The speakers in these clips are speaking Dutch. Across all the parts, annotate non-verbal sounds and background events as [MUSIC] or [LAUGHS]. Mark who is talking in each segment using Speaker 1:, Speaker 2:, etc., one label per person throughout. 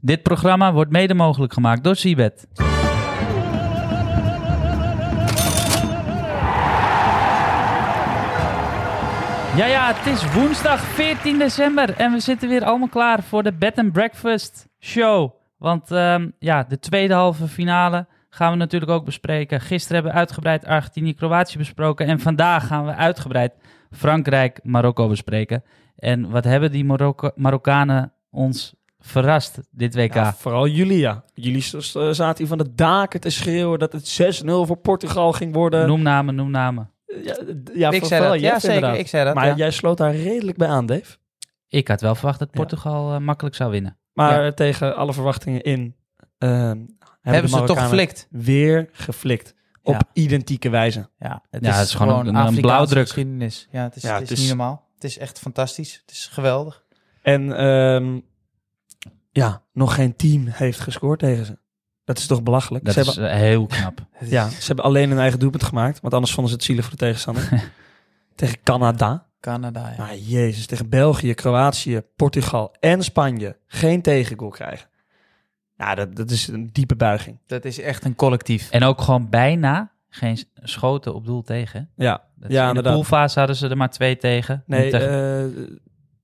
Speaker 1: Dit programma wordt mede mogelijk gemaakt door Seabed. Ja, ja, het is woensdag 14 december en we zitten weer allemaal klaar voor de Bed and Breakfast Show. Want ehm, ja, de tweede halve finale gaan we natuurlijk ook bespreken. Gisteren hebben we uitgebreid Argentinië-Kroatië besproken en vandaag gaan we uitgebreid Frankrijk-Marokko bespreken. En wat hebben die Marokko- Marokkanen ons verrast dit WK?
Speaker 2: Ja, vooral jullie, ja. Jullie s- s- zaten hier van de daken te schreeuwen dat het 6-0 voor Portugal ging worden.
Speaker 1: Noem namen, noem namen.
Speaker 2: Ja, d- ja,
Speaker 3: ik
Speaker 2: voor-
Speaker 3: zei
Speaker 2: vooral
Speaker 3: dat.
Speaker 2: Jeff
Speaker 3: Ja, zeker.
Speaker 2: inderdaad.
Speaker 3: Ik zei dat.
Speaker 2: maar
Speaker 3: ja.
Speaker 2: jij sloot daar redelijk bij aan, Dave.
Speaker 1: Ik had wel verwacht dat
Speaker 2: Ja.
Speaker 1: Portugal eh, makkelijk zou winnen.
Speaker 2: Maar tegen alle verwachtingen in ehm, hebben,
Speaker 3: Hebben
Speaker 2: de
Speaker 3: ze toch
Speaker 2: Marokkanen
Speaker 3: geflikt?
Speaker 2: Weer geflikt. Op
Speaker 3: Ja.
Speaker 2: identieke wijze.
Speaker 3: Ja,
Speaker 1: Ja, het is gewoon een- een
Speaker 3: Afrikaanse
Speaker 1: blauwdruk.
Speaker 3: geschiedenis. Ja, het is,
Speaker 2: Ja,
Speaker 3: het
Speaker 2: het
Speaker 3: is
Speaker 2: is-
Speaker 3: niet normaal. Het is echt fantastisch. Het is geweldig.
Speaker 2: En ehm, ja, nog geen team heeft gescoord tegen ze. Dat is toch belachelijk?
Speaker 1: Dat
Speaker 2: ze,
Speaker 1: is
Speaker 2: hebben,
Speaker 1: eh, heel knap.
Speaker 3: Het is-
Speaker 2: ja, ze hebben alleen een eigen doelpunt gemaakt. Want anders vonden ze het zielig voor
Speaker 1: [LAUGHS]
Speaker 2: de tegenstander. tegen Canada.
Speaker 3: Canada, ja.
Speaker 2: Maar jezus, tegen België, Kroatië, Portugal en Spanje geen tegengoal krijgen. Ja, dat, dat is een diepe buiging.
Speaker 3: Dat is echt een collectief.
Speaker 1: En ook gewoon bijna geen s- schoten op doel tegen.
Speaker 2: Ja,
Speaker 1: Dat
Speaker 2: Ja,
Speaker 1: in de
Speaker 2: inderdaad.
Speaker 1: poolfase hadden ze er maar twee tegen.
Speaker 2: nee,
Speaker 1: tegen
Speaker 2: eh,
Speaker 1: twee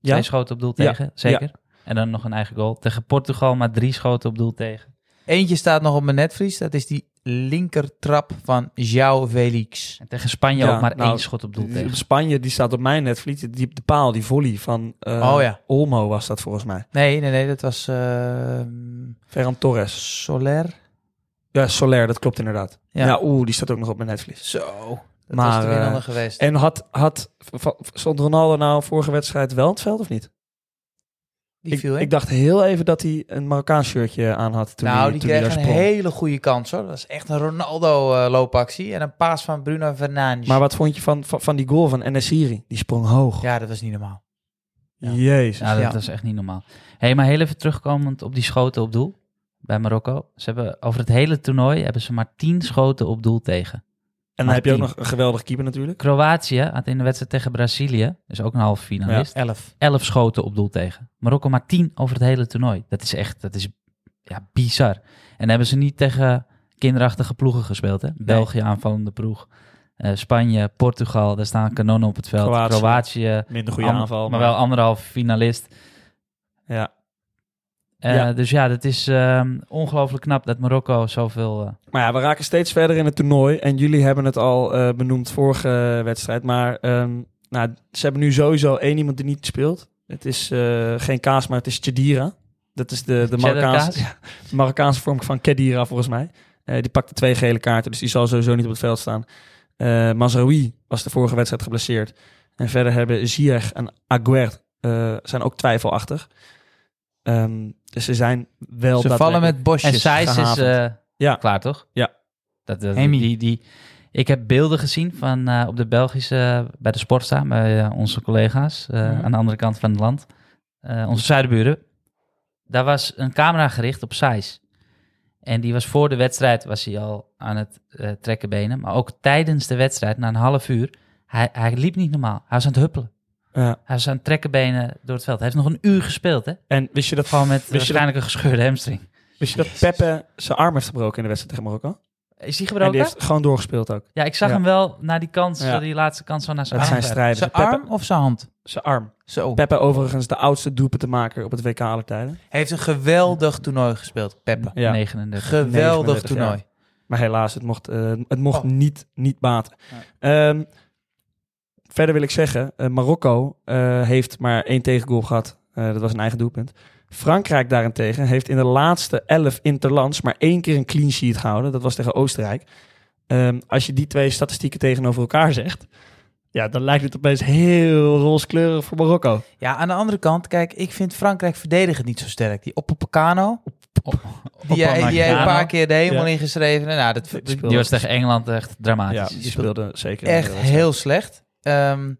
Speaker 2: ja,
Speaker 1: schoten op doel
Speaker 2: Ja,
Speaker 1: tegen, zeker. En dan nog een eigen goal. Tegen Portugal maar drie schoten op doel tegen.
Speaker 3: Eentje staat nog op mijn netvlies. Dat is die linkertrap van João Felix.
Speaker 1: En tegen Spanje
Speaker 2: Ja,
Speaker 1: ook maar
Speaker 2: nou,
Speaker 1: één schot op doel
Speaker 2: die-
Speaker 1: tegen.
Speaker 2: Spanje die staat op mijn netvlies. Die, die- de paal, die volley van eh,
Speaker 3: Oh ja.
Speaker 2: Olmo was dat volgens mij.
Speaker 3: Nee, nee, nee. Dat was ehm,
Speaker 2: Ferran Torres.
Speaker 3: Soler.
Speaker 2: Ja, Soler, dat klopt inderdaad.
Speaker 3: Ja.
Speaker 2: Ja, oeh, die staat ook nog op mijn netvlies.
Speaker 3: Zo. Dat
Speaker 2: Maar,
Speaker 3: was de winnaar
Speaker 2: eh,
Speaker 3: geweest.
Speaker 2: En had, had, va- stond Ronaldo nou vorige wedstrijd wel in het veld of niet?
Speaker 3: die
Speaker 2: ik,
Speaker 3: viel, hè?
Speaker 2: ik dacht heel even dat hij een Marokkaans shirtje aan had toen
Speaker 3: nou,
Speaker 2: hij,
Speaker 3: die
Speaker 2: toen hij
Speaker 3: kreeg een
Speaker 2: daar sprong.
Speaker 3: hele goede kans hoor. Dat was echt een Ronaldo-loopactie. en een paas van Bruno Fernandes.
Speaker 2: Maar wat vond je van, van, van die goal van Enesiri? Die sprong hoog.
Speaker 3: Ja, dat was niet normaal. ja.
Speaker 2: Jezus.
Speaker 1: Ja, Nou, dat
Speaker 3: ja.
Speaker 1: was echt niet normaal. hey, maar heel even terugkomend op die schoten op doel bij Marokko. Ze hebben over het hele toernooi hebben ze maar tien schoten op doel tegen.
Speaker 2: en dan
Speaker 1: maar
Speaker 2: heb je ook
Speaker 1: tien.
Speaker 2: nog een geweldige keeper natuurlijk.
Speaker 1: Kroatië had in de wedstrijd tegen Brazilië, dus ook een halve finalist,
Speaker 3: Elf.
Speaker 1: 11 schoten op doel tegen. Marokko maar 10 over het hele toernooi. Dat is echt, dat is ja, bizar. En dan hebben ze niet tegen kinderachtige ploegen gespeeld, hè? België aanvallende ploeg, eh, Spanje, Portugal, daar staan kanonnen op het veld.
Speaker 2: Kroatië.
Speaker 1: Kroatië,
Speaker 2: Minder goede
Speaker 1: an-
Speaker 2: aanval.
Speaker 1: maar wel anderhalve finalist.
Speaker 2: Ja.
Speaker 1: Eh,
Speaker 2: Ja.
Speaker 1: Dus ja, dat is ehm, ongelooflijk knap dat Marokko zoveel... eh,
Speaker 2: Maar ja, we raken steeds verder in het toernooi. En jullie hebben het al eh, benoemd vorige eh, wedstrijd. Maar ehm, nou, ze hebben nu sowieso één iemand die niet speelt. Het is eh, geen kaas, maar het is Chedira. Dat is de, de Marokkaanse,
Speaker 1: cheddarkaas.
Speaker 2: de Marokkaanse vorm van Kedira volgens mij. Eh, die pakte twee gele kaarten, dus die zal sowieso niet op het veld staan. Eh Mazraoui was de vorige wedstrijd geblesseerd. En verder hebben Ziyech en Aguert eh, zijn twijfelachtig. Ehm, dus ze zijn wel...
Speaker 3: Ze vallen
Speaker 2: daadwerkelijk-
Speaker 3: met bosjes.
Speaker 1: En Sijs is
Speaker 2: gehavend.
Speaker 1: eh,
Speaker 2: Ja.
Speaker 1: klaar, toch?
Speaker 2: Ja.
Speaker 1: Dat, dat-
Speaker 3: Amy.
Speaker 1: Die, die, ik heb beelden gezien van eh, op de Belgische, bij de Sportsta, bij eh, onze collega's eh,
Speaker 3: Mhm.
Speaker 1: aan de andere kant van het land. Eh, onze zuidenburen. Daar was een camera gericht op Sijs. En die was voor de wedstrijd was hij al aan het eh, trekken benen. Maar ook tijdens de wedstrijd, na een half uur, hij, hij liep niet normaal. Hij was aan het huppelen.
Speaker 2: Ja.
Speaker 1: Hij was aan het trekken benen door het veld. Hij heeft nog een uur gespeeld, hè?
Speaker 2: En wist je dat
Speaker 1: Gewoon met eh,
Speaker 2: dat-
Speaker 1: waarschijnlijk een gescheurde hamstring.
Speaker 2: Wist je dat Pepe zijn arm heeft gebroken in de wedstrijd tegen Marokko?
Speaker 1: Is die
Speaker 2: En
Speaker 1: gebroken?
Speaker 2: die heeft gewoon doorgespeeld ook.
Speaker 1: Ja, ik zag
Speaker 2: Ja.
Speaker 1: hem wel naar die kans,
Speaker 2: Ja.
Speaker 1: die laatste kans van naar zijn
Speaker 2: Dat
Speaker 1: arm
Speaker 2: zijn
Speaker 1: werd.
Speaker 2: strijders.
Speaker 3: Zijn
Speaker 2: Pepe-
Speaker 3: arm of zijn hand?
Speaker 2: Zijn arm.
Speaker 3: Zo.
Speaker 2: Pepe overigens de oudste doelpunt te maken op het WK aller tijden.
Speaker 3: Hij heeft een geweldig toernooi gespeeld, Peppe.
Speaker 2: Ja.
Speaker 1: 39.
Speaker 3: Geweldig
Speaker 2: 39
Speaker 3: toernooi.
Speaker 2: Maar helaas, het mocht, eh, het mocht
Speaker 3: Oh.
Speaker 2: niet, niet baten.
Speaker 3: Nee.
Speaker 2: Ehm, verder wil ik zeggen, eh, Marokko eh, heeft maar één tegengoal gehad. Eh, dat was een eigen doelpunt. Frankrijk daarentegen heeft in de laatste elf interlands maar één keer een clean sheet gehouden. Dat was tegen Oostenrijk. Ehm, als je die twee statistieken tegenover elkaar zegt, ja, dan lijkt het opeens heel rooskleurig voor Marokko.
Speaker 3: Ja. aan de andere kant, kijk, ik vind Frankrijk verdedigend niet zo sterk. Die Oppopacano, die jij die jij een paar keer de hemel
Speaker 2: Ja.
Speaker 3: ingeschreven. Nou, dat
Speaker 2: Die
Speaker 3: dat-
Speaker 2: speelde-
Speaker 1: Die was tegen Engeland echt
Speaker 2: Ja,
Speaker 1: dramatisch.
Speaker 2: die speelde zeker. een
Speaker 3: echt
Speaker 2: hele wedstrijd.
Speaker 3: heel slecht. Ehm,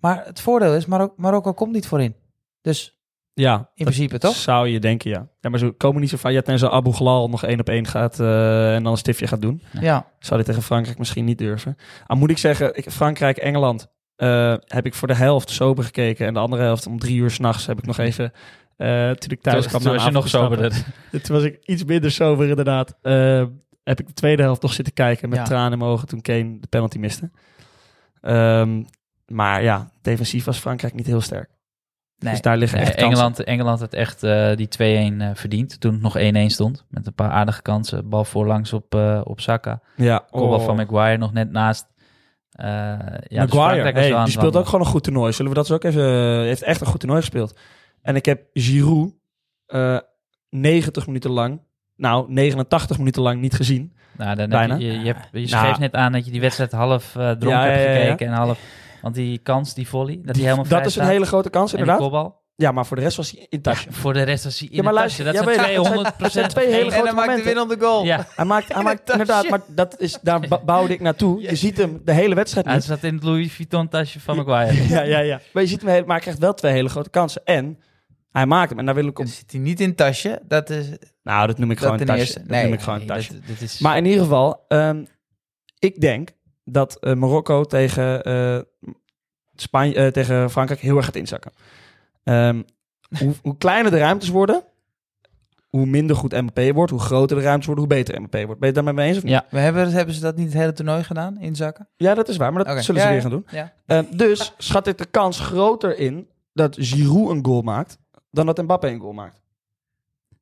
Speaker 3: maar het voordeel is, Marok- Marokko komt niet voorin. Dus
Speaker 2: Ja,
Speaker 3: in
Speaker 2: dat-
Speaker 3: principe toch?
Speaker 2: Zou je denken, ja. Ja, maar ze komen niet zo vaak. Ja, tenzij Abu Ghlal nog één op één gaat eh, en dan een stiftje gaat doen.
Speaker 1: Ja.
Speaker 3: Ja.
Speaker 2: Zou dit tegen Frankrijk misschien niet durven. Al moet ik zeggen, ik, Frankrijk, Engeland eh, heb ik voor de helft sober gekeken. En de andere helft om drie uur s'nachts heb ik nog even Eh, toen ik thuis
Speaker 1: Toen-
Speaker 2: kwam
Speaker 1: toen
Speaker 2: na
Speaker 1: was
Speaker 2: een
Speaker 1: je nog
Speaker 2: avondstappen.
Speaker 1: soberder.
Speaker 2: Toen was ik iets minder sober inderdaad. Eh, heb ik de tweede helft nog zitten kijken met
Speaker 3: Ja.
Speaker 2: tranen in mijn ogen toen Kane de penalty miste. Ehm, maar ja, defensief was Frankrijk niet heel sterk.
Speaker 3: Nee.
Speaker 2: Dus daar liggen
Speaker 1: Nee,
Speaker 2: echt kansen.
Speaker 1: Engeland, Engeland had echt eh, die 2-1 eh, verdiend. Toen het nog 1-1 stond. Met een paar aardige kansen. Bal voorlangs op, eh op Saka.
Speaker 2: Ja,
Speaker 1: Kopbal
Speaker 2: oh.
Speaker 1: van Maguire nog net naast. Eh, ja, dus
Speaker 2: Maguire,
Speaker 1: Frankrijk was
Speaker 2: hey,
Speaker 1: wel aan
Speaker 2: die
Speaker 1: het
Speaker 2: speelt ook
Speaker 1: wandelen.
Speaker 2: gewoon een goed toernooi. Zullen we dat eens ook even... heeft echt een goed toernooi gespeeld. En ik heb Giroud eh 90 minuten lang... Nou, 89 minuten lang niet gezien.
Speaker 1: Nou, dan
Speaker 2: Bijna.
Speaker 1: Heb je, je, je, hebt- je
Speaker 2: Nou.
Speaker 1: schreef net aan dat je die wedstrijd half eh dronken
Speaker 2: Ja,
Speaker 1: hebt
Speaker 2: ja, ja, ja.
Speaker 1: gekeken. En half, want die kans, die volley, dat hij helemaal vrij
Speaker 2: dat is een
Speaker 1: staat.
Speaker 2: hele grote kans,
Speaker 1: En die
Speaker 2: inderdaad.
Speaker 1: kopbal.
Speaker 2: Ja, maar voor de rest was hij in het tasje.
Speaker 1: Voor de rest was hij in
Speaker 2: Ja, maar
Speaker 1: het
Speaker 2: luister,
Speaker 1: tasje. Dat
Speaker 2: ja,
Speaker 1: zijn
Speaker 2: weet je, dat zijn-
Speaker 1: 200
Speaker 2: dat zijn twee hele
Speaker 3: En
Speaker 2: grote
Speaker 3: dan maakt de
Speaker 2: momenten.
Speaker 3: winnende goal.
Speaker 1: Ja,
Speaker 2: Hij maakt,
Speaker 1: [LAUGHS]
Speaker 2: hij maakt
Speaker 3: tasje.
Speaker 2: inderdaad, maar dat is, daar ba- bouwde ik naartoe. Je ziet hem de hele wedstrijd
Speaker 1: hij
Speaker 2: niet.
Speaker 1: zat in het Louis Vuitton tasje van Maguire.
Speaker 2: Ja, [LAUGHS] ja, ja. Maar je ziet hem, heel- maar hij krijgt wel twee hele grote kansen. En hij maakt hem. En daar wil ik om.
Speaker 1: Dus
Speaker 3: Dan zit hij niet in het tasje. Dat is
Speaker 2: Nou, dat noem ik
Speaker 3: dat
Speaker 2: gewoon
Speaker 3: ten
Speaker 2: een tasje.
Speaker 3: eerste.
Speaker 2: Dat
Speaker 3: Nee,
Speaker 2: noem ik gewoon een
Speaker 1: Nee,
Speaker 2: tasje.
Speaker 1: dat- dit is,
Speaker 2: Maar in ieder geval, ehm, ik denk dat eh, Marokko tegen, eh, Spanje, eh, tegen Frankrijk heel erg gaat inzakken. Ehm, hoe, hoe kleiner de ruimtes worden, hoe minder goed Mbappé wordt, hoe groter de ruimtes worden, hoe beter Mbappé wordt. Ben je het daarmee mee eens of niet?
Speaker 1: Ja.
Speaker 3: We hebben, hebben ze dat niet het hele toernooi gedaan, inzakken?
Speaker 2: Ja, dat is waar, maar dat
Speaker 3: Oké.
Speaker 2: zullen
Speaker 3: Ja,
Speaker 2: ze
Speaker 3: ja.
Speaker 2: weer gaan doen.
Speaker 3: Ja.
Speaker 2: Ehm, dus schat ik de kans groter in dat Giroud een goal maakt dan dat Mbappé een goal maakt.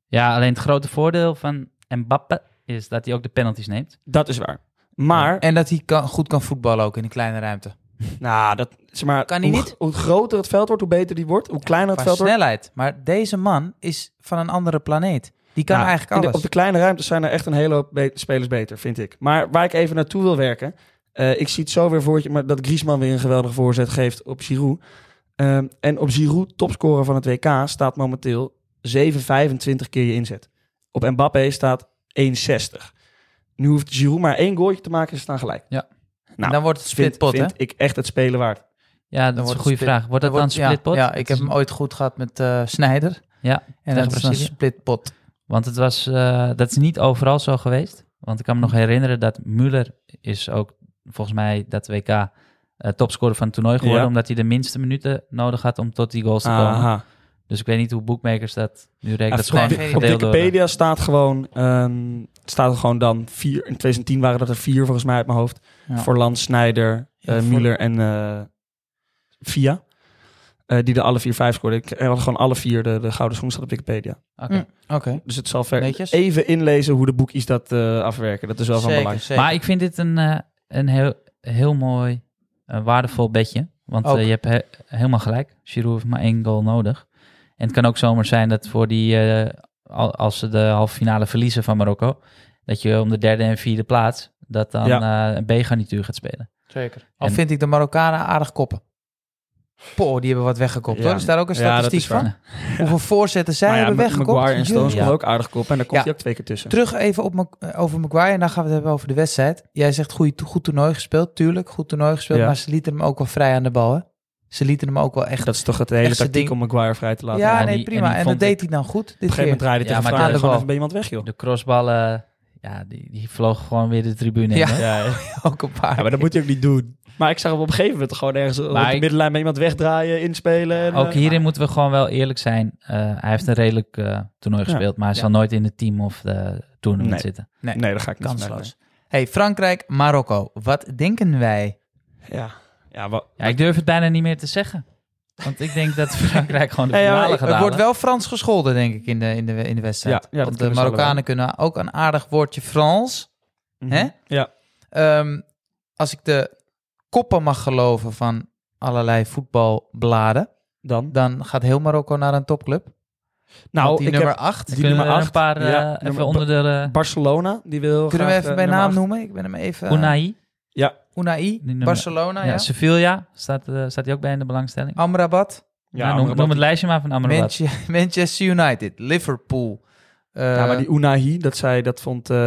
Speaker 1: Ja, alleen het grote voordeel van Mbappe is dat hij ook de penalties neemt.
Speaker 2: Dat is waar. Maar,
Speaker 3: En dat hij kan, goed kan voetballen ook in een kleine ruimte.
Speaker 2: nou, dat, zeg maar
Speaker 3: Kan hij
Speaker 2: hoe,
Speaker 3: niet?
Speaker 2: hoe groter het veld wordt, hoe beter die wordt. Hoe kleiner het
Speaker 3: Qua
Speaker 2: veld wordt,
Speaker 3: snelheid. Maar deze man is van een andere planeet. Die kan
Speaker 2: Nou,
Speaker 3: eigenlijk
Speaker 2: in de-
Speaker 3: alles.
Speaker 2: op de kleine ruimtes zijn er echt een hele hoop be- spelers beter, vind ik. Maar waar ik even naartoe wil werken... eh, ik zie het zo weer voor je, maar dat Griezmann weer een geweldige voorzet geeft op Giroud. Ehm, en op Giroud, topscorer van het WK, staat momenteel 7,25 keer je inzet. Op Mbappé staat 1,60. Nu hoeft Giroud maar één goaltje te maken en ze staan gelijk.
Speaker 1: Ja.
Speaker 2: Nou,
Speaker 3: dan wordt het
Speaker 2: vind,
Speaker 3: splitpot, hè?
Speaker 2: vind ik echt het spelen waard.
Speaker 1: Ja, dat
Speaker 3: wordt
Speaker 1: is een
Speaker 3: het
Speaker 1: goede
Speaker 3: split-
Speaker 1: vraag. Wordt dat dan
Speaker 3: wordt- ja,
Speaker 1: splitpot?
Speaker 3: Ja, ik heb hem ooit goed gehad met eh Snijder.
Speaker 1: Ja,
Speaker 3: En dat is dan
Speaker 1: Brazilië.
Speaker 3: splitpot.
Speaker 1: Want het was, eh, dat is niet overal zo geweest. Want ik kan me nog herinneren dat Müller is ook volgens mij dat WK eh, topscorer van het toernooi geworden.
Speaker 2: Ja.
Speaker 1: Omdat hij de minste minuten nodig had om tot die goals te komen. Dus ik weet niet hoe bookmakers dat nu rekenen. Dat is
Speaker 3: Op
Speaker 1: gewoon
Speaker 3: Wik- op
Speaker 2: Op
Speaker 1: gedeeld door...
Speaker 2: Wikipedia staat gewoon, ehm, staat er gewoon dan vier. In 2010 waren dat er vier volgens mij uit mijn hoofd.
Speaker 3: Ja.
Speaker 2: Forlan, Snijder, eh
Speaker 3: Ja, Voor-
Speaker 2: Müller en eh Via. Eh, die de alle vier vijf scoorden. Ik had gewoon alle vier de, de gouden schoen staat op Wikipedia.
Speaker 1: Oké.
Speaker 3: Mm, Oké,
Speaker 2: Dus het zal ver
Speaker 3: Netjes.
Speaker 2: even inlezen hoe de boekies dat eh, afwerken. Dat is wel van
Speaker 3: zeker,
Speaker 2: belang.
Speaker 3: zeker.
Speaker 1: Maar ik vind dit een, eh, een heel, heel mooi, eh, waardevol bedje. Want eh,
Speaker 3: Ook.
Speaker 1: je hebt he- helemaal gelijk. Giroud heeft maar één goal nodig. En het kan ook zomaar zijn dat voor die, eh, al- als ze de halve finale verliezen van Marokko, dat je om de derde en vierde plaats, dat dan eh, een B-garnituur gaat spelen.
Speaker 3: zeker. Al
Speaker 1: En-
Speaker 3: vind ik de Marokkanen aardig koppen. Poh, die hebben wat weggekopt
Speaker 2: Ja.
Speaker 3: hoor. Is daar ook een
Speaker 2: Ja, dat
Speaker 3: statistiek
Speaker 2: is waar. [LAUGHS]
Speaker 3: van? Hoeveel voorzetten zij
Speaker 2: Maar ja,
Speaker 3: hebben
Speaker 2: Ma-
Speaker 3: weggekopt?
Speaker 2: Maguire en Stones
Speaker 3: Jongen.
Speaker 1: Ja.
Speaker 2: komen ook aardig kop. En daar komt
Speaker 3: Ja.
Speaker 2: hij ook twee keer tussen.
Speaker 3: Terug even op Mag- eh, over Maguire en dan gaan we het hebben over de wedstrijd. Jij zegt goed, goed toernooi gespeeld, tuurlijk, goed toernooi gespeeld,
Speaker 2: Ja.
Speaker 3: maar ze lieten hem ook wel vrij aan de bal. Hè? Ze lieten hem ook wel echt.
Speaker 2: Dat is toch het hele
Speaker 3: Echt zijn
Speaker 2: tactiek om
Speaker 3: ding.
Speaker 2: Maguire vrij te laten.
Speaker 3: ja,
Speaker 1: en
Speaker 2: Op
Speaker 3: nee,
Speaker 1: die- en
Speaker 3: prima.
Speaker 1: die
Speaker 3: En, dat
Speaker 1: vond
Speaker 3: deed
Speaker 1: ik-
Speaker 3: hij dan goed dit
Speaker 2: een gegeven moment
Speaker 3: keer.
Speaker 2: draaide
Speaker 1: Ja,
Speaker 2: tegen
Speaker 1: maar
Speaker 2: Frankrijk
Speaker 3: aan de
Speaker 2: gewoon
Speaker 3: bal.
Speaker 2: even bij iemand weg, joh.
Speaker 1: De crossballen, ja, die, die vlogen gewoon weer de tribune in.
Speaker 3: Ja.
Speaker 1: hè?
Speaker 2: Ja,
Speaker 3: [LAUGHS] ook een [LAUGHS] paar.
Speaker 2: Ja, maar dat moet je ook niet doen. Maar ik zag hem op een gegeven moment gewoon ergens op
Speaker 1: Maar
Speaker 2: de
Speaker 1: ik-
Speaker 2: middenlijn met iemand wegdraaien, inspelen. En,
Speaker 1: Ook
Speaker 2: eh,
Speaker 1: hierin moeten we gewoon wel eerlijk zijn. Eh, hij heeft een redelijk eh, toernooi
Speaker 2: Ja.
Speaker 1: gespeeld, maar hij
Speaker 3: Ja.
Speaker 1: zal nooit in het team of de toernooi
Speaker 2: Nee.
Speaker 1: zitten.
Speaker 2: Nee, dat ga ik niet
Speaker 3: kansloos. Hey, Frankrijk, Marokko. Wat denken wij?
Speaker 2: vanuit, nee. Ja, ja, wa-
Speaker 1: Ja, ik durf het bijna niet meer te zeggen. Want ik denk
Speaker 2: [LAUGHS]
Speaker 1: dat Frankrijk gewoon de
Speaker 2: Ja, ja, maar
Speaker 1: finale
Speaker 2: ik-
Speaker 1: gaat
Speaker 3: Er
Speaker 1: halen.
Speaker 3: wordt wel Frans gescholden, denk ik, in de, in de, in de wedstrijd.
Speaker 2: Ja, ja, dat
Speaker 3: Want de
Speaker 2: kunnen ze
Speaker 3: Marokkanen kunnen ook een aardig woordje Frans.
Speaker 2: Mhm.
Speaker 3: Hè?
Speaker 2: Ja.
Speaker 3: Ehm, als ik de koppen mag geloven van allerlei voetbalbladen,
Speaker 2: Dan?
Speaker 3: dan gaat heel Marokko naar een topclub. Want
Speaker 2: Nou,
Speaker 3: die
Speaker 2: ik
Speaker 3: nummer
Speaker 2: heb
Speaker 3: 8.
Speaker 2: die
Speaker 1: Kunnen we
Speaker 2: nummer
Speaker 1: er een
Speaker 2: acht.
Speaker 1: paar eh,
Speaker 2: Ja,
Speaker 1: even
Speaker 2: nummer-
Speaker 1: onder de eh,
Speaker 2: Barcelona, die wil
Speaker 3: Kunnen we
Speaker 2: graag,
Speaker 3: even
Speaker 2: eh,
Speaker 3: bij
Speaker 2: nummer
Speaker 3: naam
Speaker 2: acht.
Speaker 3: noemen? Ik ben hem even... eh,
Speaker 1: Unai.
Speaker 3: Unai,
Speaker 1: nummer-
Speaker 3: Barcelona,
Speaker 1: Ja,
Speaker 3: ja.
Speaker 1: Sevilla staat, eh, staat die ook bij in de belangstelling.
Speaker 3: Amrabat,
Speaker 1: Nou, noem, noem het lijstje maar van Amrabat.
Speaker 3: Manche- [LAUGHS] Manchester United, Liverpool. eh,
Speaker 2: Ja, maar die Unahi, dat, zei, dat vond eh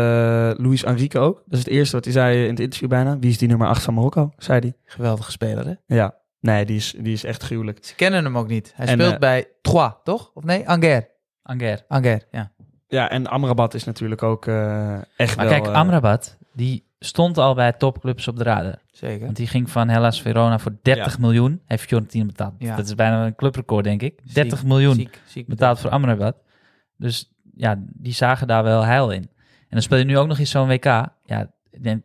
Speaker 2: Luis Enrique ook. Dat is het eerste wat hij zei in het interview bijna. Wie is die nummer 8 van Marokko, zei hij.
Speaker 3: Geweldige speler, hè?
Speaker 2: Ja, nee, die is, die is echt gruwelijk.
Speaker 3: Ze kennen hem ook niet. Hij
Speaker 2: En,
Speaker 3: speelt
Speaker 2: eh,
Speaker 3: bij Troyes, toch? Of nee? Anger.
Speaker 1: Anger.
Speaker 3: Anger, ja.
Speaker 2: Ja, en Amrabat is natuurlijk ook eh, echt
Speaker 1: Maar
Speaker 2: wel...
Speaker 1: kijk,
Speaker 2: eh,
Speaker 1: Amrabat, die stond al bij topclubs op de radar.
Speaker 3: Zeker.
Speaker 1: Want die ging van Hellas Verona voor 30 miljoen. Heeft Fiorentina betaald.
Speaker 3: Ja.
Speaker 1: Dat is bijna een clubrecord, denk ik.
Speaker 3: Ziek,
Speaker 1: 30 miljoen
Speaker 3: Ziek, ziek
Speaker 1: betaald voor Amrabat. Dus ja, die zagen daar wel heil in. En dan speel je nu ook nog eens zo'n WK. Ja, ik denk,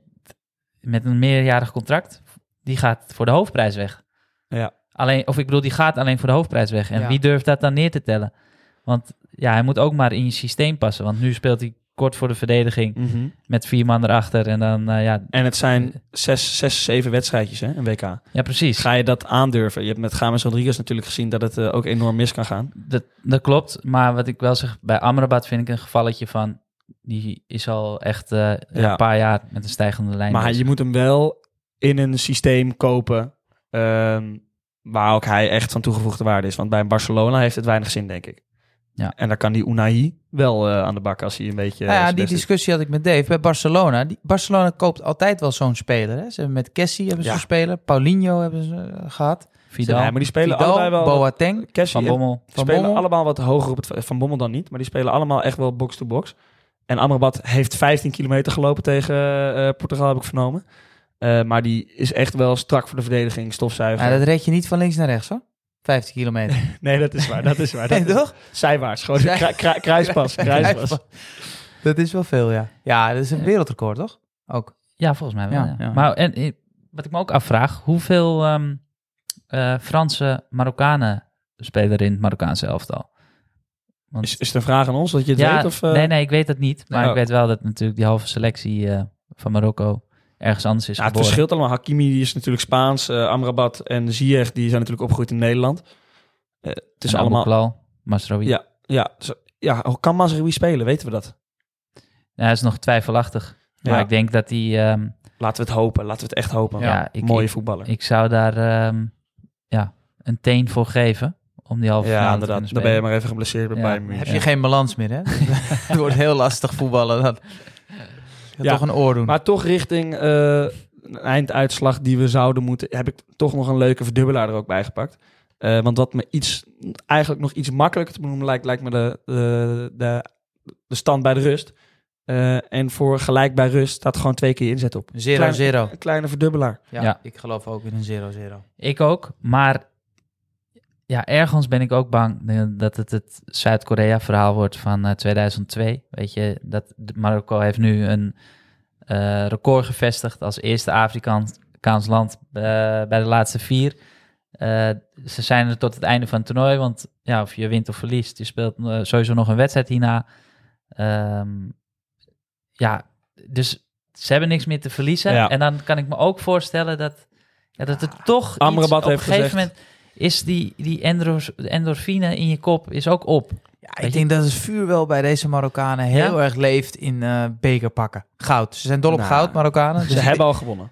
Speaker 1: met een meerjarig contract. Die gaat voor de hoofdprijs weg.
Speaker 2: Ja.
Speaker 1: Alleen, of ik bedoel, die gaat alleen voor de hoofdprijs weg. En
Speaker 3: Ja.
Speaker 1: wie durft dat dan neer te tellen? Want ja, hij moet ook maar in je systeem passen. Want nu speelt hij kort voor de verdediging met vier man erachter. En dan, eh, ja,
Speaker 2: Mhm. En het zijn zes, zes, zeven wedstrijdjes, hè, een WK.
Speaker 1: ja, precies.
Speaker 2: Ga je dat aandurven? Je hebt met James Rodriguez natuurlijk gezien dat het eh, ook enorm mis kan gaan.
Speaker 1: Dat, dat klopt, maar wat ik wel zeg, bij Amrabat vind ik een gevalletje van... die is al echt eh,
Speaker 2: Ja.
Speaker 1: een paar jaar met een stijgende lijn. Dus
Speaker 2: Maar
Speaker 1: bezig.
Speaker 2: je moet hem wel in een systeem kopen ehm, waar ook hij echt van toegevoegde waarde is. Want bij Barcelona heeft het weinig zin, denk ik.
Speaker 1: Ja.
Speaker 2: En daar kan die Unai wel eh, aan de bak als hij een beetje...
Speaker 3: Nou
Speaker 2: eh,
Speaker 3: ja,
Speaker 2: zijn
Speaker 3: die
Speaker 2: best doet.
Speaker 3: discussie had ik met Dave bij Barcelona. Die, Barcelona koopt altijd wel zo'n speler. Hè? Ze hebben met Kessie hebben ze
Speaker 2: Ja.
Speaker 3: een speler. Paulinho hebben ze eh, gehad.
Speaker 1: Vidal,
Speaker 2: Ja, maar die spelen
Speaker 3: Vidal,
Speaker 2: allebei wel...
Speaker 3: Boateng.
Speaker 2: Kessie
Speaker 1: Van
Speaker 2: en-
Speaker 1: Bommel.
Speaker 2: Die
Speaker 3: Van
Speaker 2: spelen
Speaker 3: Bommel.
Speaker 2: allemaal wat hoger op het Van Bommel dan niet, maar die spelen allemaal echt wel box-to-box. En Amrabat heeft 15 kilometer gelopen tegen eh, Portugal, heb ik vernomen. Eh, maar die is echt wel strak voor de verdediging, stofzuiger.
Speaker 3: Nou, dat red je niet van links naar rechts hoor. 50 kilometer.
Speaker 2: Nee, dat is waar, dat
Speaker 1: [LAUGHS]
Speaker 2: is waar. Dat
Speaker 3: [LAUGHS] Nee,
Speaker 2: is-
Speaker 3: toch?
Speaker 2: Zijwaarts, gewoon een kru- kru- kruispas, kruispas.
Speaker 3: Dat is wel veel, ja. Ja, dat is een wereldrecord, toch? Ook.
Speaker 1: Ja, volgens mij wel.
Speaker 3: Ja,
Speaker 1: ja.
Speaker 3: ja.
Speaker 1: Maar en, eh, wat ik me ook afvraag, hoeveel ehm, eh, Franse Marokkanen spelen er in het Marokkaanse elftal? Want,
Speaker 2: Is, is het een vraag aan ons dat je het
Speaker 1: ja,
Speaker 2: weet? Of, eh, Oh.
Speaker 1: Nee, nee, ik weet dat niet. Maar
Speaker 2: Nee.
Speaker 1: ik weet wel dat natuurlijk die halve selectie eh, van Marokko ergens anders is
Speaker 2: Ja, het
Speaker 1: geboren.
Speaker 2: verschilt allemaal. Hakimi die is natuurlijk Spaans, eh, Amrabat en Ziyech die zijn natuurlijk opgegroeid in Nederland. Eh, het is
Speaker 1: En Abu
Speaker 2: allemaal...
Speaker 1: Klal, Masraoui.
Speaker 2: Ja, ja, zo- ja, hoe kan Mazraoui spelen? Weten we dat?
Speaker 1: Ja, hij is nog twijfelachtig.
Speaker 2: Ja.
Speaker 1: Maar ik denk dat hij... ehm,
Speaker 2: Laten we het hopen, laten we het echt hopen.
Speaker 1: ja, ik,
Speaker 2: Mooie
Speaker 1: ik,
Speaker 2: voetballer.
Speaker 1: ik zou daar ehm, ja, een teen voor geven om die halve
Speaker 2: ja,
Speaker 1: finale te kunnen
Speaker 2: inderdaad. Dan
Speaker 1: spelen.
Speaker 2: ben je maar even geblesseerd bij
Speaker 1: Ja.
Speaker 2: Bayern München.
Speaker 3: Heb je geen balans meer, hè? [LAUGHS] Het wordt heel lastig voetballen. Dat... Je
Speaker 2: Ja.
Speaker 3: toch een oor doen.
Speaker 2: Maar toch richting eh, een einduitslag die we zouden moeten... heb ik toch nog een leuke verdubbelaar er ook bij gepakt. Eh, want wat me iets, eigenlijk nog iets makkelijker te benoemen lijkt... lijkt me de, de, de, de stand bij de rust. Eh, en voor gelijk bij rust staat gewoon twee keer inzet op.
Speaker 3: 0-0.
Speaker 2: Een kleine verdubbelaar.
Speaker 3: Ja,
Speaker 1: Ja.
Speaker 3: ik geloof ook in een 0-0.
Speaker 1: Ik ook, maar ja, ergens ben ik ook bang eh, dat het het Zuid-Korea-verhaal wordt van eh, 2002. Weet je, dat de- Marokko heeft nu een eh, record gevestigd als eerste Afrikaans land eh, bij de laatste vier. Eh, ze zijn er tot het einde van het toernooi, want ja, of je wint of verliest, je speelt eh, sowieso nog een wedstrijd hierna. Ehm, ja, dus ze hebben niks meer te verliezen.
Speaker 2: Ja.
Speaker 1: En dan kan ik me ook voorstellen dat, ja, dat er toch
Speaker 2: Amrabat
Speaker 1: iets, op
Speaker 2: heeft
Speaker 1: een gegeven
Speaker 2: gezegd-
Speaker 1: moment is die, die endor- endorfine in je kop is ook op.
Speaker 3: Ja,
Speaker 1: Weet
Speaker 3: ik
Speaker 1: je-
Speaker 3: denk dat het vuur wel bij deze Marokkanen heel erg leeft in eh, bekerpakken. Goud. Ze zijn dol op
Speaker 2: Nou,
Speaker 3: goud, Marokkanen.
Speaker 2: Ze
Speaker 3: Dus
Speaker 2: hebben al gewonnen.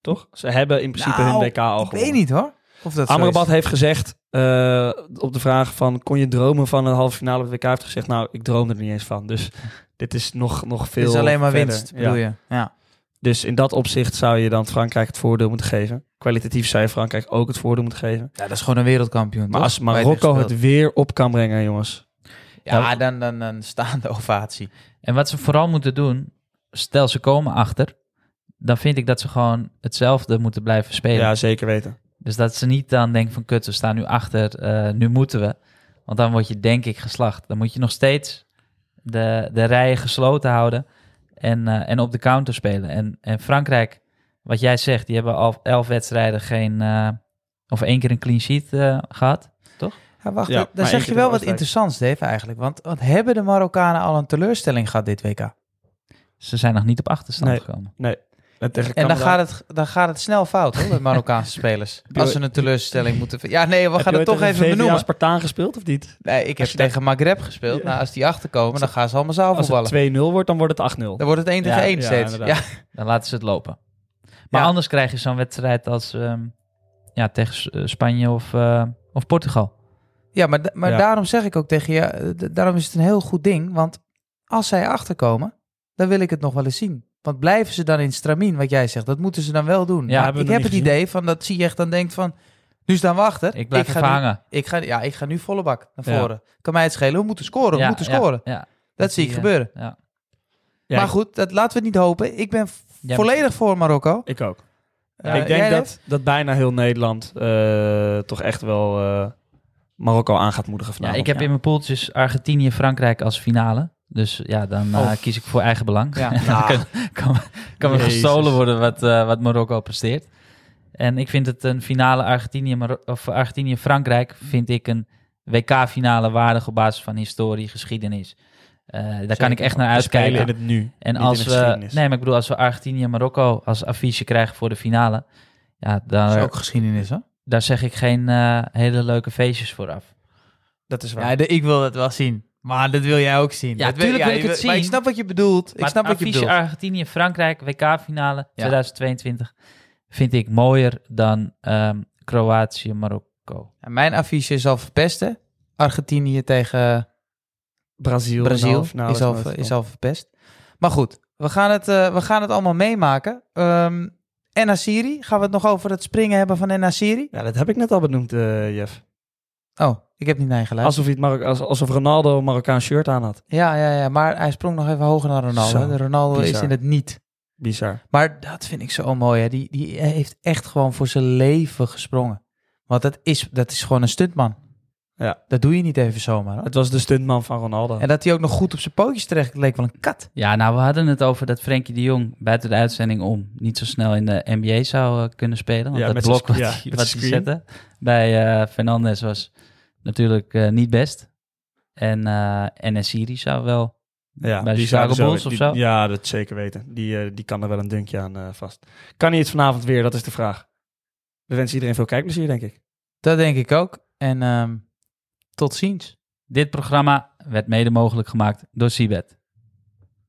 Speaker 2: Toch? Ze hebben in principe
Speaker 3: Nou,
Speaker 2: hun WK al
Speaker 3: ik
Speaker 2: gewonnen.
Speaker 3: weet niet hoor. Of dat zo
Speaker 2: Amrabat
Speaker 3: is.
Speaker 2: heeft gezegd, eh, op de vraag van, kon je dromen van een halve finale op het WK? Heeft gezegd, nou, ik droom er niet eens van.
Speaker 3: [LAUGHS]
Speaker 2: Dus dit is nog, nog veel
Speaker 3: Het is alleen maar
Speaker 2: verder.
Speaker 3: winst,
Speaker 2: Ja.
Speaker 3: bedoel je. Ja.
Speaker 2: Dus in dat opzicht zou je dan Frankrijk het voordeel moeten geven. Kwalitatief zou je Frankrijk ook het voordeel moeten geven.
Speaker 3: ja, dat is gewoon een wereldkampioen.
Speaker 2: Maar
Speaker 3: toch?
Speaker 2: als
Speaker 3: Waar je
Speaker 2: Marokko
Speaker 3: tegen
Speaker 2: het weer op kan brengen, jongens.
Speaker 3: speelt.
Speaker 2: Nou,
Speaker 3: Ja, dan, dan, dan staande ovatie.
Speaker 1: Nou, En wat ze vooral moeten doen, stel ze komen achter, dan vind ik dat ze gewoon hetzelfde moeten blijven spelen.
Speaker 2: Ja, zeker weten.
Speaker 1: Dus dat ze niet dan denken van kut, we staan nu achter, eh, nu moeten we. Want dan word je denk ik geslacht. Dan moet je nog steeds de, de rijen gesloten houden en, eh, en op de counter spelen. En, en Frankrijk, wat jij zegt, die hebben al elf wedstrijden geen, eh, of één keer een clean sheet eh, gehad.
Speaker 3: Ja, wacht,
Speaker 2: Ja,
Speaker 3: dan-
Speaker 2: maar
Speaker 3: dan zeg
Speaker 2: eentje
Speaker 3: je wel wat
Speaker 2: tegen Oostenrijk.
Speaker 3: interessants, Dave, eigenlijk. Want, want hebben de Marokkanen al een teleurstelling gehad dit WK?
Speaker 1: Ze zijn nog niet op achterstand
Speaker 2: Nee.
Speaker 1: gekomen.
Speaker 2: En, tegen
Speaker 3: En dan
Speaker 2: Canada-
Speaker 3: gaat, het, dan gaat het snel fout, hoor, met
Speaker 2: [LAUGHS]
Speaker 3: Marokkaanse spelers.
Speaker 2: je
Speaker 3: Als ze een teleurstelling moeten... ver- Ja, nee, we
Speaker 2: Heb
Speaker 3: gaan
Speaker 2: je
Speaker 3: het
Speaker 2: ooit
Speaker 3: toch
Speaker 2: tegen
Speaker 3: even
Speaker 2: VVA
Speaker 3: benoemen.
Speaker 2: Spartaan gespeeld of niet?
Speaker 3: Nee, ik heb
Speaker 2: Als je
Speaker 3: tegen Maghreb gespeeld.
Speaker 2: Ja.
Speaker 3: Nou, als die achterkomen, dan gaan ze allemaal
Speaker 2: Als
Speaker 3: zaal voetballen.
Speaker 2: het 2-0 wordt, dan wordt het 8-0.
Speaker 3: Dan wordt het 1 tegen
Speaker 1: Ja,
Speaker 3: 1
Speaker 2: ja,
Speaker 3: steeds. Ja,
Speaker 2: inderdaad.
Speaker 1: Dan laten ze het lopen. Maar
Speaker 3: Ja.
Speaker 1: anders krijg je zo'n wedstrijd als ehm, ja, tegen S- eh, Spanje of, eh, of Portugal.
Speaker 3: ja maar, da- maar
Speaker 2: Ja.
Speaker 3: daarom zeg ik ook tegen je... eh, d- Daarom is het een heel goed ding. Want als zij achterkomen, dan wil ik het nog wel eens zien. Want blijven ze dan in stramien, wat jij zegt, dat moeten ze dan wel doen.
Speaker 1: Ja,
Speaker 3: Maar
Speaker 2: hebben
Speaker 3: ik
Speaker 2: we nog
Speaker 3: heb het
Speaker 2: niet
Speaker 3: idee van dat Ziyech dan denkt van... Nu staan we achter.
Speaker 1: Ik blijf
Speaker 3: ga
Speaker 1: even
Speaker 3: nu-
Speaker 1: hangen.
Speaker 3: Ik ga, ja, ik ga nu volle bak naar
Speaker 2: Ja.
Speaker 3: voren. Kan mij het schelen. We moeten scoren. We
Speaker 1: Ja,
Speaker 3: moeten
Speaker 1: ja,
Speaker 3: scoren.
Speaker 1: Ja,
Speaker 3: Dat zie ik
Speaker 1: die, eh,
Speaker 3: gebeuren.
Speaker 1: ja.
Speaker 2: Ja,
Speaker 3: maar
Speaker 2: ik-
Speaker 3: goed, dat laten we het niet hopen. Ik ben
Speaker 1: Ja,
Speaker 3: Volledig voor Marokko.
Speaker 2: Ik ook.
Speaker 3: Ja,
Speaker 2: ik denk
Speaker 3: jij,
Speaker 2: dat, dat bijna heel Nederland eh, toch echt wel eh, Marokko aan gaat moedigen
Speaker 1: Ja,
Speaker 2: vanavond.
Speaker 1: ik heb in mijn poeltjes Argentinië Frankrijk als finale. Dus ja, dan eh,
Speaker 3: Oh.
Speaker 1: kies ik voor eigen belang.
Speaker 3: Ja.
Speaker 1: kan, [LAUGHS] kan, kan me
Speaker 2: Jezus.
Speaker 1: gestolen worden wat, eh, wat Marokko presteert. En ik vind het een finale Argentinië, Maro- of Argentinië-Frankrijk vind ik een WK-finale waardig op basis van historie, geschiedenis. Eh, daar kan ik echt naar
Speaker 2: We spelen
Speaker 1: uitkijken.
Speaker 2: in het nu.
Speaker 1: En
Speaker 2: niet
Speaker 1: als
Speaker 2: in de
Speaker 1: we,
Speaker 2: geschiedenis.
Speaker 1: nee, maar ik bedoel, als we Argentinië en Marokko als affiche krijgen voor de finale, ja,
Speaker 3: [LAUGHS] Dat
Speaker 1: daar,
Speaker 3: is ook geschiedenis, hè?
Speaker 1: daar zeg ik geen eh, hele leuke feestjes voor af.
Speaker 2: Dat is waar.
Speaker 3: Ja, de- ik wil dat wel zien. Maar dat wil jij ook zien.
Speaker 1: Ja,
Speaker 3: Dat wil-
Speaker 1: tuurlijk wil ik
Speaker 3: je
Speaker 1: het
Speaker 3: Maar
Speaker 1: zien.
Speaker 3: ik snap wat je bedoelt.
Speaker 1: Maar
Speaker 3: ik snap wat je
Speaker 1: affiche
Speaker 3: bedoelt.
Speaker 1: Argentinië, Frankrijk, WK-finale 2022 vind ik mooier dan ehm, Kroatië, Marokko.
Speaker 3: Ja, Mijn affiche is al verpesten. Argentinië tegen
Speaker 2: Brazil,
Speaker 3: Brazil
Speaker 1: nou,
Speaker 3: is, al,
Speaker 2: half
Speaker 3: is al verpest. Maar goed, we gaan het, eh, we gaan het allemaal meemaken. Ehm Enasiri, gaan we het nog over het springen hebben van Enasiri?
Speaker 2: Ja, dat heb ik net al benoemd, eh, Jeff.
Speaker 3: Oh, ik heb niet naar je geluisterd.
Speaker 2: Alsof, hij het Marok- als- alsof Ronaldo een Marokkaans shirt aan had.
Speaker 3: Ja, ja, ja, maar hij sprong nog even hoger dan Ronaldo.
Speaker 2: Zo,
Speaker 3: De Ronaldo is
Speaker 2: bizar.
Speaker 3: in het niet.
Speaker 2: Bizar.
Speaker 3: Maar dat vind ik zo mooi. Hè. Die, die heeft echt gewoon voor zijn leven gesprongen. Want dat is, dat is gewoon een stuntman.
Speaker 2: Ja.
Speaker 3: Dat doe je niet even zomaar. hoor.
Speaker 2: Het was de stuntman van Ronaldo.
Speaker 3: En dat hij ook nog goed op zijn pootjes terecht leek wel een kat.
Speaker 1: Ja, nou, we hadden het over dat Frenkie de Jong buiten de uitzending om niet zo snel in de NBA zou eh, kunnen spelen. Want
Speaker 2: Ja,
Speaker 1: dat
Speaker 2: met
Speaker 1: blok
Speaker 2: zijn-
Speaker 1: wat
Speaker 2: ja,
Speaker 1: hij
Speaker 2: met
Speaker 1: wat
Speaker 2: zijn
Speaker 1: hij
Speaker 2: screen.
Speaker 1: zette bij eh Fernandes was natuurlijk eh, niet best. En eh NSiri zou wel.
Speaker 2: ja,
Speaker 1: bij de
Speaker 2: die zouden
Speaker 1: Chicago Bulls
Speaker 2: die-
Speaker 1: of zo?
Speaker 2: Ja, dat zeker weten. Die, eh, die kan er wel een dunkje aan eh, vast. Kan hij het vanavond weer? Dat is de vraag. We wensen iedereen veel kijkplezier, denk ik.
Speaker 3: Dat denk ik ook. En ehm, tot ziens.
Speaker 1: Dit programma werd mede mogelijk gemaakt door Sibet.